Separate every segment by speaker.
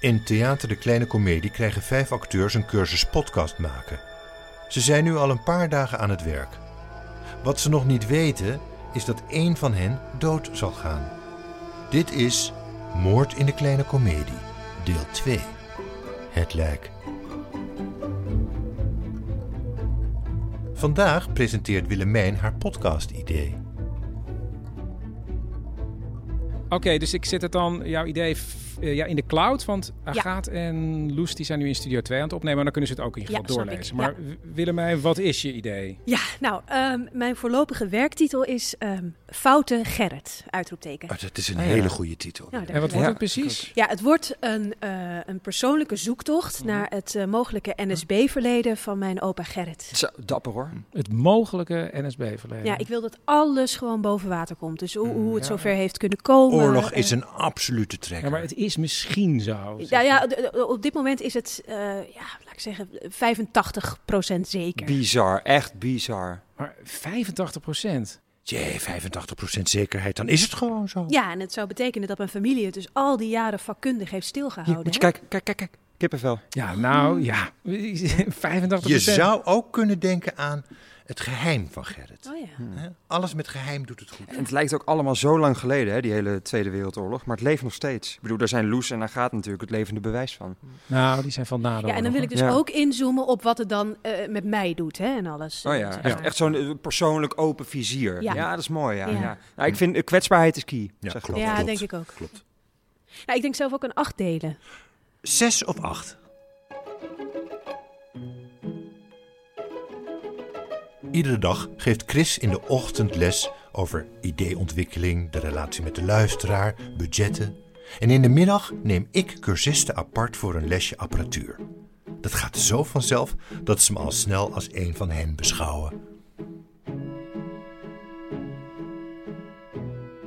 Speaker 1: In Theater de Kleine Comedie krijgen vijf acteurs een cursus podcast maken. Ze zijn nu al een paar dagen aan het werk. Wat ze nog niet weten is dat één van hen dood zal gaan. Dit is Moord in de Kleine Comedie, deel 2. Het lijk. Vandaag presenteert Willemijn haar podcast-idee.
Speaker 2: Oké, dus ik zet het dan, jouw idee, f- eh, ja, in de cloud. Want Agathe en Loes die zijn nu in Studio 2 aan het opnemen. En dan kunnen ze het ook in ieder
Speaker 3: Ja,
Speaker 2: geval
Speaker 3: snap
Speaker 2: doorlezen.
Speaker 3: ik, ja.
Speaker 2: Maar W- Willemijn, wat is je idee?
Speaker 3: Ja, nou, ehm, mijn voorlopige werktitel is ehm, Foute Gerrit, uitroepteken.
Speaker 4: dat is een
Speaker 2: Ah, ja.
Speaker 4: hele goede titel.
Speaker 3: Nou,
Speaker 2: En wat
Speaker 3: dankjewel.
Speaker 2: wordt het precies?
Speaker 3: Ja, het wordt een, eh, een persoonlijke zoektocht
Speaker 4: Mhm.
Speaker 3: naar het eh, mogelijke NSB-verleden van mijn opa Gerrit.
Speaker 4: Zo, dapper hoor.
Speaker 2: Het mogelijke NSB-verleden.
Speaker 3: Ja, ik wil dat alles gewoon boven water komt. Dus hoe, hoe het
Speaker 2: Ja.
Speaker 3: zover heeft kunnen komen.
Speaker 4: Oorlog
Speaker 3: eh,
Speaker 4: is een absolute trekker.
Speaker 2: Ja, maar het is misschien zo.
Speaker 3: Ja, ja, d- d- op dit moment is het, eh, ja, laat ik zeggen, 85% zeker.
Speaker 4: Bizar, echt bizar.
Speaker 2: Maar 85 procent.
Speaker 4: Jee, 85% zekerheid, dan is het gewoon zo.
Speaker 3: Ja, en het zou betekenen dat mijn familie het dus al die jaren vakkundig
Speaker 4: Hier,
Speaker 3: heeft stilgehouden.
Speaker 4: moet je
Speaker 3: hè?
Speaker 4: kijken, kijk, kijk, kijk. Kippenvel.
Speaker 2: Ja,
Speaker 3: Hmm.
Speaker 2: nou ja. 85
Speaker 1: Je zou ook kunnen denken aan het geheim van Gerrit.
Speaker 3: Oh ja.
Speaker 1: Hè? Alles met geheim doet het goed.
Speaker 5: En het lijkt ook allemaal zo lang geleden, hè, die hele Tweede Wereldoorlog. Maar het leeft nog steeds. Ik bedoel, daar zijn Loes en daar gaat natuurlijk het levende bewijs van.
Speaker 2: Nou, die zijn van nadeel.
Speaker 3: Ja, en dan wil ik dus
Speaker 5: Ja.
Speaker 3: ook inzoomen op wat het dan eh, met mij doet hè, en alles.
Speaker 5: Oh
Speaker 3: eh,
Speaker 5: ja,
Speaker 3: zeg
Speaker 5: echt,
Speaker 3: maar.
Speaker 5: echt zo'n eh, persoonlijk open vizier.
Speaker 3: Ja.
Speaker 5: Ja, dat is mooi. Ja,
Speaker 3: Ja.
Speaker 5: ja. Nou, ik vind eh, kwetsbaarheid is key.
Speaker 1: Ja,
Speaker 5: zeg ik
Speaker 1: klopt.
Speaker 3: ja,
Speaker 1: klopt,
Speaker 3: denk ik ook.
Speaker 1: Klopt.
Speaker 3: Nou, ik denk zelf ook een acht delen.
Speaker 1: Zes of acht? Iedere dag geeft Chris in de ochtend les over ideeontwikkeling, de relatie met de luisteraar, budgetten. En in de middag neem ik cursisten apart voor een lesje apparatuur. Dat gaat zo vanzelf dat ze me al snel als een van hen beschouwen.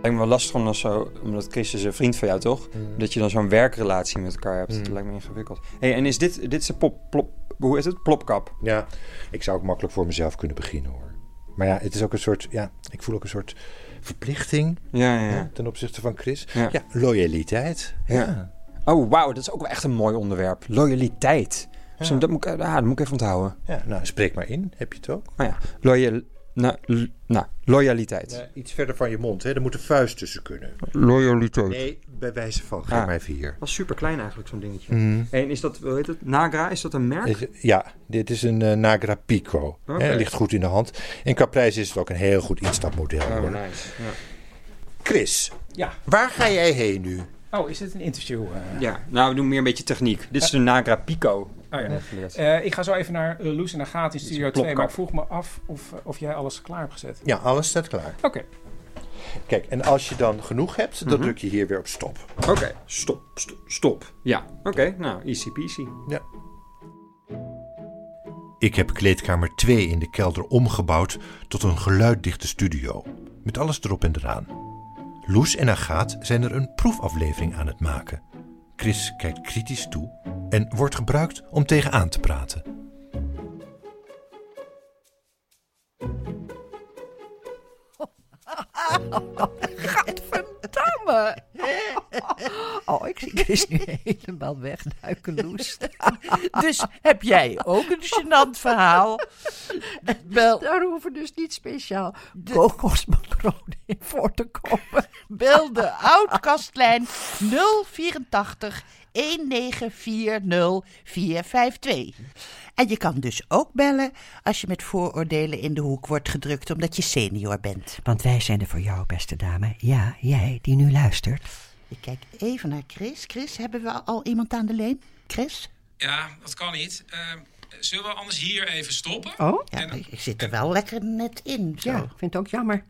Speaker 5: Lijkt me wel lastig om dan zo, omdat Chris is een vriend van jou toch? Dat je dan zo'n werkrelatie met elkaar hebt. Dat lijkt me ingewikkeld. Hey, en is dit, dit is een pop, plop, hoe is het? Plopkap.
Speaker 1: Ja, ik zou ook makkelijk voor mezelf kunnen beginnen hoor. Maar ja, het is ook een soort, ja, ik voel ook een soort verplichting
Speaker 5: Ja, ja,
Speaker 1: hè,
Speaker 5: ja.
Speaker 1: ten opzichte van Chris. Ja,
Speaker 5: Ja.
Speaker 1: loyaliteit. Ja.
Speaker 5: Ja. Oh, wauw, dat is ook wel echt een mooi onderwerp. Loyaliteit. Zo, dat, moet ik, ah, dat moet ik even onthouden.
Speaker 1: Ja, nou, spreek maar in, heb je het ook.
Speaker 5: Maar ja, loyal, nou, l- nou, loyaliteit.
Speaker 1: iets verder van je mond, hè? Er moet een vuist tussen kunnen.
Speaker 5: Loyaliteit.
Speaker 1: Nee, bij wijze van,
Speaker 5: Ah.
Speaker 1: geef mij vier.
Speaker 5: was super klein eigenlijk, zo'n dingetje. En is dat, hoe heet het? Nagra, Mhm. is dat een merk?
Speaker 1: Dit- Ja, dit is een eh, Nagra Pico.
Speaker 5: Oké.
Speaker 1: Hè, ligt goed in de hand. En qua prijs is het ook een heel goed instapmodel. hoor.
Speaker 5: oh, nice. Ja.
Speaker 1: Chris,
Speaker 2: Ja.
Speaker 1: waar ga jij heen nu?
Speaker 2: Oh, is dit een interview? eh?
Speaker 5: ja, nou, we doen meer een beetje techniek. Dit is de Nagra Pico.
Speaker 2: Oh ja.
Speaker 5: Geleerd.
Speaker 2: Eh, ik ga zo even naar eh, Loes en Agathe in Studio 2. Maar
Speaker 5: plopkap.
Speaker 2: ik vroeg me af of, eh, of jij alles klaar hebt gezet.
Speaker 1: Ja, alles staat klaar.
Speaker 2: Oké.
Speaker 1: Kijk, en als je dan genoeg hebt, dan druk je hier weer op stop.
Speaker 5: Oké, stop, stop, stop. Ja, oké, nou, easy peasy.
Speaker 1: Ja. Ik heb kleedkamer 2 in de kelder omgebouwd tot een geluiddichte studio. Met alles erop en eraan. Loes en Agaat zijn er een proefaflevering aan het maken. Chris kijkt kritisch toe en wordt gebruikt om tegenaan te praten.
Speaker 6: Gadverdamme! Oh, ik zie Chris nu helemaal wegduiken, Loes. Dus heb jij ook een gênant verhaal? Bel. Daar hoeven dus niet speciaal kokosmatronen in voor te komen. Bel de oudkastlijn 084
Speaker 7: 1940452. En je kan dus ook bellen als je met vooroordelen in de hoek wordt gedrukt omdat je senior bent.
Speaker 8: Want wij zijn er voor jou, beste dame. Ja, jij die nu luistert.
Speaker 7: Ik kijk even naar Chris. Chris, hebben we al iemand aan de lijn? Chris?
Speaker 2: Ja, dat kan niet. Ehm, zullen we anders hier even stoppen?
Speaker 7: Ja, ik ik zit er wel lekker net in. Zo.
Speaker 8: Oh? Ja, ik vind het ook jammer.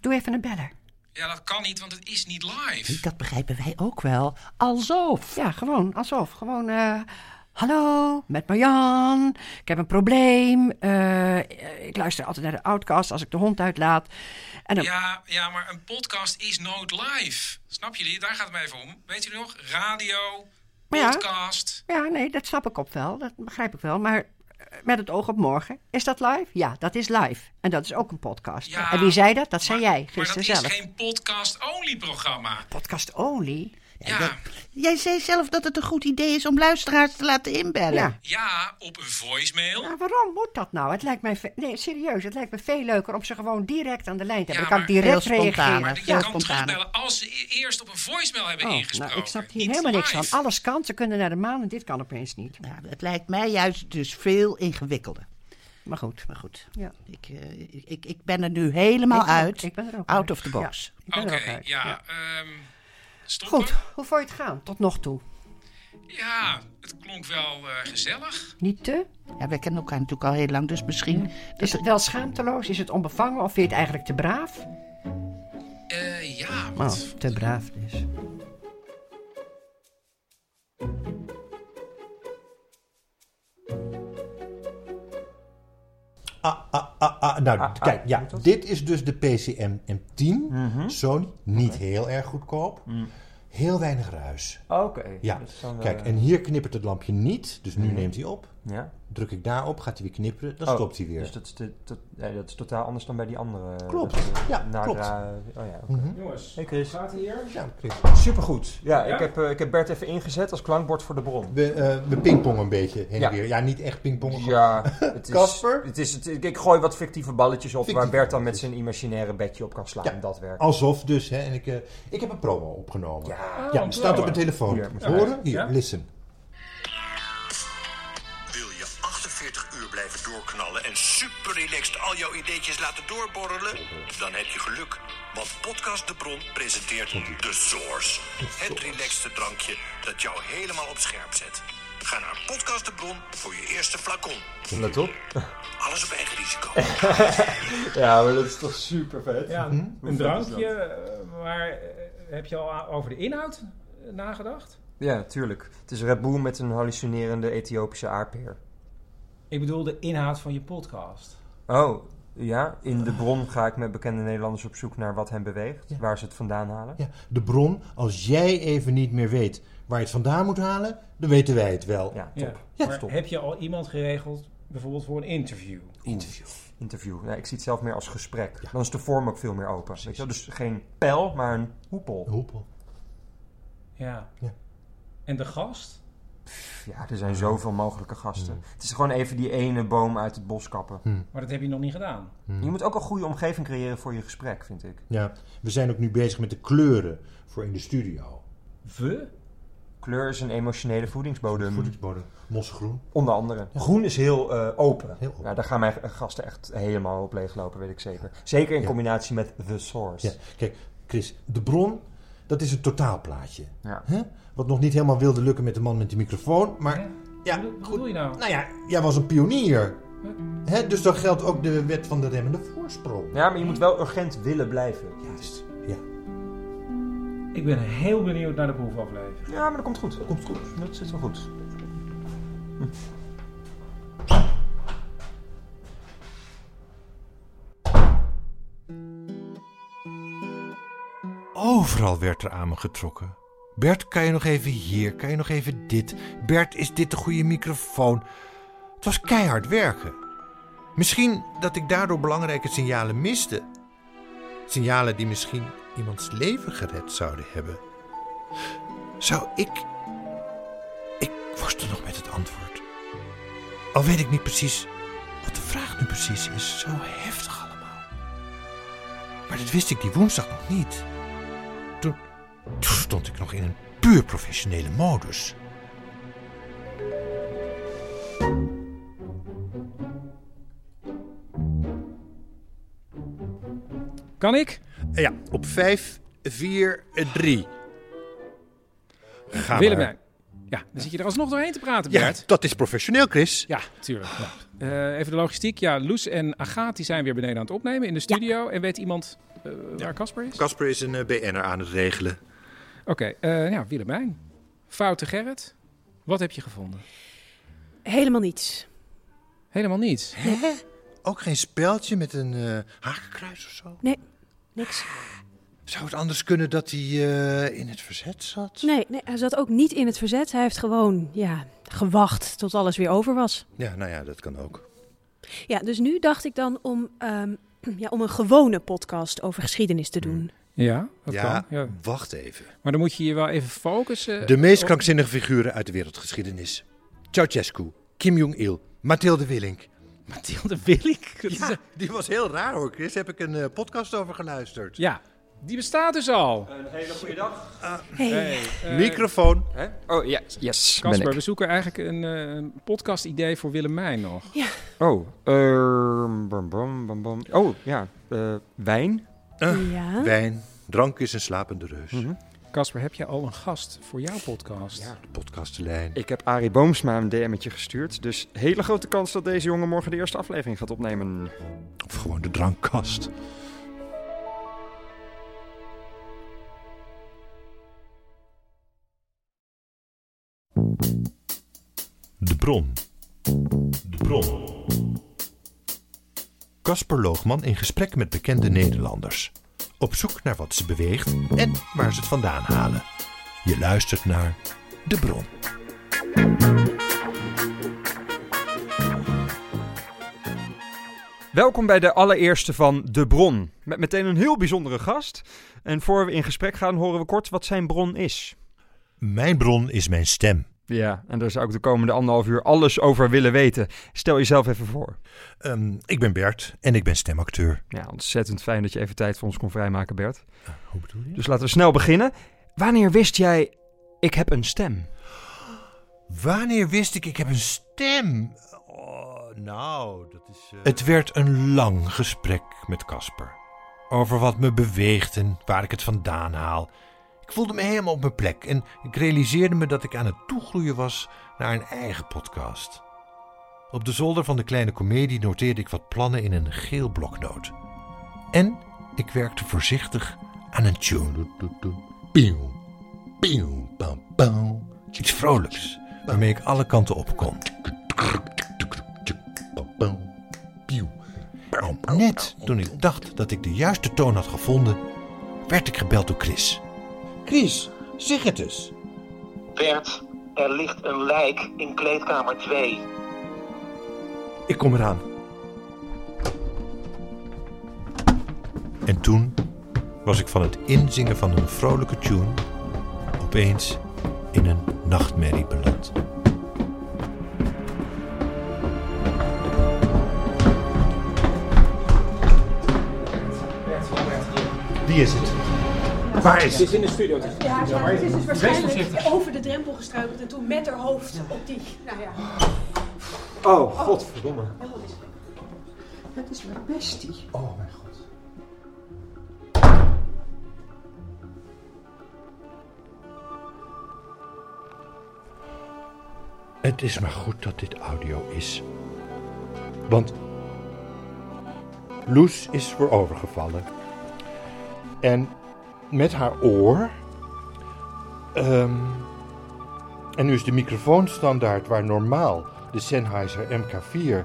Speaker 8: Doe even een beller.
Speaker 2: Ja, dat kan niet, want het is niet live.
Speaker 7: Dat begrijpen wij ook wel. Alsof.
Speaker 8: Ja, gewoon alsof. Gewoon, eh, hallo, met Marjan. Ik heb een probleem. Eh, ik luister altijd naar de outcast als ik de hond uitlaat. En dan...
Speaker 2: Ja, ja, maar een podcast is nooit live. Snap jullie? Daar gaat het mij even om. Weet jullie nog? Radio,
Speaker 8: Maar ja.
Speaker 2: podcast.
Speaker 8: Ja, nee, dat snap ik op wel. Dat begrijp ik wel. Maar eh, met het oog op morgen. Is dat live? Ja, dat is live. En dat is ook een podcast.
Speaker 2: Ja,
Speaker 8: en wie zei dat? Dat zei jij
Speaker 2: Maar dat
Speaker 8: gisteren
Speaker 2: is
Speaker 8: zelf.
Speaker 2: geen podcast-only programma.
Speaker 8: Podcast Only?
Speaker 2: Ja,
Speaker 7: Jij zei zelf dat het een goed idee is om luisteraars te laten inbellen.
Speaker 8: Ja.
Speaker 2: ja, op een voicemail.
Speaker 8: Maar waarom moet dat nou? Het lijkt mij ve- nee, serieus, het lijkt me veel leuker om ze gewoon direct aan de lijn te hebben. dan kan ik direct reageren.
Speaker 2: Maar je kan terugbellen als ze e- eerst op een voicemail hebben
Speaker 8: Oh,
Speaker 2: ingesproken.
Speaker 8: nou, ik snap hier
Speaker 2: Niet
Speaker 8: helemaal niks
Speaker 2: live.
Speaker 8: van. Alles kan, ze kunnen naar de maan en dit kan opeens niet.
Speaker 7: Het lijkt mij juist dus veel ingewikkelder.
Speaker 8: Maar goed,
Speaker 7: maar goed.
Speaker 8: Ja.
Speaker 7: Ik, eh, ik, ik ben er nu helemaal
Speaker 8: Ik ben-
Speaker 7: uit.
Speaker 8: ik ben er ook
Speaker 7: Out
Speaker 8: uit.
Speaker 7: of the box.
Speaker 8: Ja, ik ben er ook uit.
Speaker 2: Ja, ehm, stoppen.
Speaker 8: Goed, hoe vond je het gaan tot nog toe?
Speaker 2: Ja, het klonk wel eh, gezellig.
Speaker 8: Niet te?
Speaker 7: Ja, wij kennen elkaar natuurlijk al heel lang, dus misschien...
Speaker 8: Is het wel schaamteloos? Is het onbevangen? Of vind je het eigenlijk te braaf?
Speaker 2: Eh, ja,
Speaker 8: Oh,
Speaker 2: wat...
Speaker 8: te braaf dus.
Speaker 1: Ah, ah, nou, kijk, ja, dit is dus de PCM M10. Sony, niet heel erg goedkoop. Heel weinig ruis.
Speaker 5: Oké.
Speaker 1: Ja,
Speaker 5: dus dan, eh,
Speaker 1: kijk, en hier knippert het lampje niet, dus nu
Speaker 5: Mhm.
Speaker 1: neemt hij op.
Speaker 5: Ja.
Speaker 1: Druk ik daarop, gaat hij weer knipperen, dan
Speaker 5: Oh,
Speaker 1: stopt hij weer.
Speaker 5: Dus dat is, de- dat, nee, dat is totaal anders dan bij die andere.
Speaker 1: Klopt,
Speaker 5: dat, eh,
Speaker 1: ja, klopt.
Speaker 5: nadra- oh ja, oké.
Speaker 2: Jongens,
Speaker 5: hey Chris.
Speaker 2: gaat hier?
Speaker 1: Ja,
Speaker 5: Supergoed. Ja,
Speaker 1: Ja?
Speaker 5: Ik, heb, eh, ik heb Bert even ingezet als klankbord voor de bron.
Speaker 1: We, eh, we pingpongen een beetje heen en
Speaker 5: Ja.
Speaker 1: weer. Ja, niet echt pingpongen.
Speaker 5: Ja, het is,
Speaker 1: Casper?
Speaker 5: Het is, het- ik- ik gooi wat fictieve balletjes op
Speaker 1: Fictieve
Speaker 5: waar Bert dan met zijn imaginaire bedje op kan slaan. Dat werkt.
Speaker 1: Alsof dus, hè, en ik, eh, ik heb een promo opgenomen.
Speaker 5: Ja.
Speaker 1: ja
Speaker 5: Oh,
Speaker 1: staat op
Speaker 5: promo.
Speaker 1: mijn telefoon.
Speaker 5: Hier, moet je
Speaker 1: Horen?
Speaker 5: kijken.
Speaker 1: Hier,
Speaker 5: Ja?
Speaker 1: listen.
Speaker 9: Wil je 48 uur blijven doorknallen en super relaxed al jouw ideetjes laten doorborrelen? Dan heb je geluk, want Podcast De Bron presenteert The Source. Het relaxte drankje dat jou helemaal op scherp zet. Ga naar Podcast De Bron voor je eerste flacon.
Speaker 5: Let op.
Speaker 9: Alles op eigen risico.
Speaker 5: ja, maar dat is toch super vet.
Speaker 2: Ja,
Speaker 5: Hm? Hoe
Speaker 2: een
Speaker 5: vet is
Speaker 2: drankje, eh, maar eh, heb je al a- over de inhoud eh, nagedacht?
Speaker 5: dat? Ja, tuurlijk. Het is Red Bull met een hallucinerende Ethiopische aardpeer.
Speaker 2: Ik bedoel de inhoud van je podcast.
Speaker 5: Oh, ja. In de bron ga ik met bekende Nederlanders op zoek naar wat hen beweegt. Waar ze het vandaan halen.
Speaker 1: Ja, de bron, als jij even niet meer weet waar je het vandaan moet halen, dan weten wij het wel.
Speaker 5: Ja,
Speaker 2: maar
Speaker 5: top.
Speaker 2: heb je al iemand geregeld, bijvoorbeeld voor een interview?
Speaker 5: Interview. Interview. Ja, ik zie het zelf meer als gesprek. Dan is de vorm ook veel meer open. Weet je wel? Dus geen pijl, maar een hoepel.
Speaker 1: hoepel.
Speaker 2: Ja. En de gast?
Speaker 5: Ja, er zijn zoveel mogelijke gasten. Mm. Het is gewoon even die ene boom uit het bos kappen.
Speaker 2: Maar dat heb je nog niet gedaan.
Speaker 5: Je moet ook een goede omgeving creëren voor je gesprek, vind ik.
Speaker 1: Ja, we zijn ook nu bezig met de kleuren voor in de studio.
Speaker 2: We?
Speaker 5: Kleur is een emotionele voedingsbodem.
Speaker 1: Voedingsbodem. Mosgroen.
Speaker 5: Onder andere. Groen is heel eh, open. Ja, daar gaan mijn gasten echt helemaal op leeglopen, weet ik zeker. Zeker in
Speaker 1: Ja.
Speaker 5: combinatie met The Source.
Speaker 1: Ja, kijk, Chris, de bron, dat is een totaalplaatje.
Speaker 5: Ja.
Speaker 1: Hè? Wat nog niet helemaal wilde lukken met de man met die microfoon, maar
Speaker 2: Ja, Wat bedoel je nou?
Speaker 1: Nou ja, jij was een pionier. Hè? Dus dan geldt ook de wet van de remmende voorsprong.
Speaker 5: Ja, maar je moet wel urgent willen blijven.
Speaker 1: Juist.
Speaker 2: Ik ben heel benieuwd naar de proefaflevering.
Speaker 5: Ja, maar dat komt goed. Dat komt goed. Dat zit wel goed.
Speaker 1: Overal werd er aan me getrokken. Bert, kan je nog even hier? Kan je nog even dit? Bert, is dit de goede microfoon? Het was keihard werken. Misschien dat ik daardoor belangrijke signalen miste. Signalen die misschien iemands leven gered zouden hebben. Zou ik. Ik worstel nog met het antwoord. Al weet ik niet precies wat de vraag nu precies is. Zo heftig allemaal. Maar dat wist ik die woensdag nog niet. Toen, toen stond ik nog in een puur professionele modus.
Speaker 2: Kan ik?
Speaker 1: Eh, Ja, op 5, 4, 3. Ga
Speaker 2: Willemijn.
Speaker 1: maar.
Speaker 2: Ja, dan zit je er alsnog doorheen te praten,
Speaker 1: Ja, Ah.
Speaker 2: Bert.
Speaker 1: dat is professioneel, Chris.
Speaker 2: Ja, tuurlijk. Ja. Eh, even de logistiek. Ja, Loes en Agathe die zijn weer beneden aan het opnemen in de studio. En weet iemand eh, waar Casper is?
Speaker 1: Casper is een eh, BN'er aan het regelen.
Speaker 2: Oké, eh, ja, Willemijn. Foute Gerrit. Wat heb je gevonden?
Speaker 3: Helemaal niets.
Speaker 2: Helemaal niets?
Speaker 1: Hè? Ook geen speldje met een eh, hakenkruis of zo?
Speaker 3: Nee, niks.
Speaker 1: Zou het anders kunnen dat hij eh, in het verzet zat?
Speaker 3: Nee, nee, hij zat ook niet in het verzet. Hij heeft gewoon ja, gewacht tot alles weer over was.
Speaker 1: Ja, nou ja, dat kan ook.
Speaker 3: Ja, dus nu dacht ik dan om, ehm, ja, om een gewone podcast over geschiedenis te doen.
Speaker 2: Ja, dat
Speaker 1: ja,
Speaker 2: kan. Ja. Eh, oh.
Speaker 1: wacht even.
Speaker 2: Maar dan moet je je wel even focussen.
Speaker 1: De meest
Speaker 2: op-
Speaker 1: krankzinnige figuren uit de wereldgeschiedenis. Ceausescu, Kim Jong-il, Mathilde Willink.
Speaker 2: Mathilde Willink?
Speaker 1: Ja, die was heel raar hoor, Chris. Daar heb ik een eh, podcast over geluisterd.
Speaker 2: Ja, die bestaat dus al.
Speaker 5: Een hele goede dag.
Speaker 2: Hey. eh,
Speaker 1: Microfoon.
Speaker 5: Oh, ja, yes. ben
Speaker 2: Casper,
Speaker 5: ik.
Speaker 2: we zoeken eigenlijk een, eh, een podcast-idee voor Willemijn nog.
Speaker 3: Ja.
Speaker 5: Oh, ehm, bam, bam, bam, bam. Oh, ja. eh, wijn.
Speaker 3: Eh, Ja.
Speaker 1: Wijn, drank is een slapende reus.
Speaker 2: Casper, heb jij al een gast voor jouw podcast? Ja.
Speaker 1: Podcastlijn.
Speaker 5: Ik heb Arie Boomsma een DM'tje gestuurd. Dus hele grote kans dat deze jongen morgen de eerste aflevering gaat opnemen.
Speaker 1: Of gewoon de drankkast. De bron. De bron. Casper Loogman in gesprek met bekende Nederlanders. Op zoek naar wat ze beweegt en waar ze het vandaan halen. Je luistert naar De Bron.
Speaker 5: Welkom bij de allereerste van De Bron. Met meteen een heel bijzondere gast. En voor we in gesprek gaan, horen we kort wat zijn bron is.
Speaker 1: Mijn bron is mijn stem.
Speaker 5: Ja, en daar zou ik de komende anderhalf uur alles over willen weten. Stel jezelf even voor.
Speaker 1: Ehm, ik ben Bert en ik ben stemacteur.
Speaker 5: Ja, ontzettend fijn dat je even tijd voor ons kon vrijmaken, Bert.
Speaker 1: Hoe bedoel je?
Speaker 5: Dus laten we snel beginnen. Wanneer wist jij, ik heb een stem?
Speaker 1: Wanneer wist ik, ik heb een stem? Oh, nou, dat is... Het werd een lang gesprek met Casper. Over wat me beweegt en waar ik het vandaan haal. Ik voelde me helemaal op mijn plek en ik realiseerde me dat ik aan het toegroeien was naar een eigen podcast. Op de zolder van de kleine komedie noteerde ik wat plannen in een geel bloknoot. En ik werkte voorzichtig aan een tune. Doet, doet, doet. Pieuw, pieuw, pam, pam. Iets vrolijks, waarmee ik alle kanten op kon. Pieuw. En Net toen ik dacht dat ik de juiste toon had gevonden, werd ik gebeld door Chris. Chris, zeg het eens.
Speaker 10: Bert, er ligt een lijk in kleedkamer 2.
Speaker 1: Ik kom eraan. En toen was ik van het inzingen van een vrolijke tune opeens in een nachtmerrie beland. Wie is het? Waar is het?
Speaker 2: in de studio.
Speaker 3: Ja,
Speaker 2: Ja, maar
Speaker 3: het is
Speaker 2: wees
Speaker 3: dus waarschijnlijk
Speaker 2: voorzichtig.
Speaker 3: over de drempel gestruikeld en toen met haar hoofd op die. Nou ja.
Speaker 5: Oh, godverdomme.
Speaker 6: Het is mijn bestie.
Speaker 1: Oh, mijn god. Het is maar goed dat dit audio is. Want Loes is voorovergevallen. En met haar oor. ehm, en nu is de microfoonstandaard waar normaal de Sennheiser MK4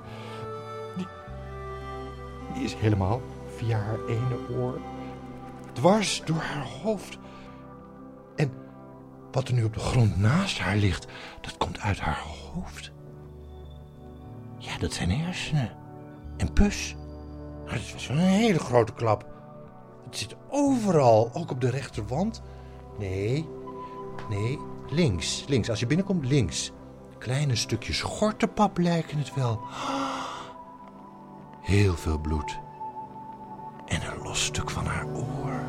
Speaker 1: die is helemaal via haar ene oor dwars door haar hoofd. En wat er nu op de grond naast haar ligt, dat komt uit haar hoofd. Ja, dat zijn hersenen. En pus. Maar dat was wel een hele grote klap. Het zit overal, ook op de rechterwand. Nee, nee, links, links. Als je binnenkomt, links. Kleine stukjes schortenpap lijken het wel. Heel veel bloed. En een los stuk van haar oor.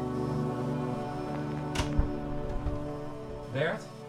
Speaker 2: Bert.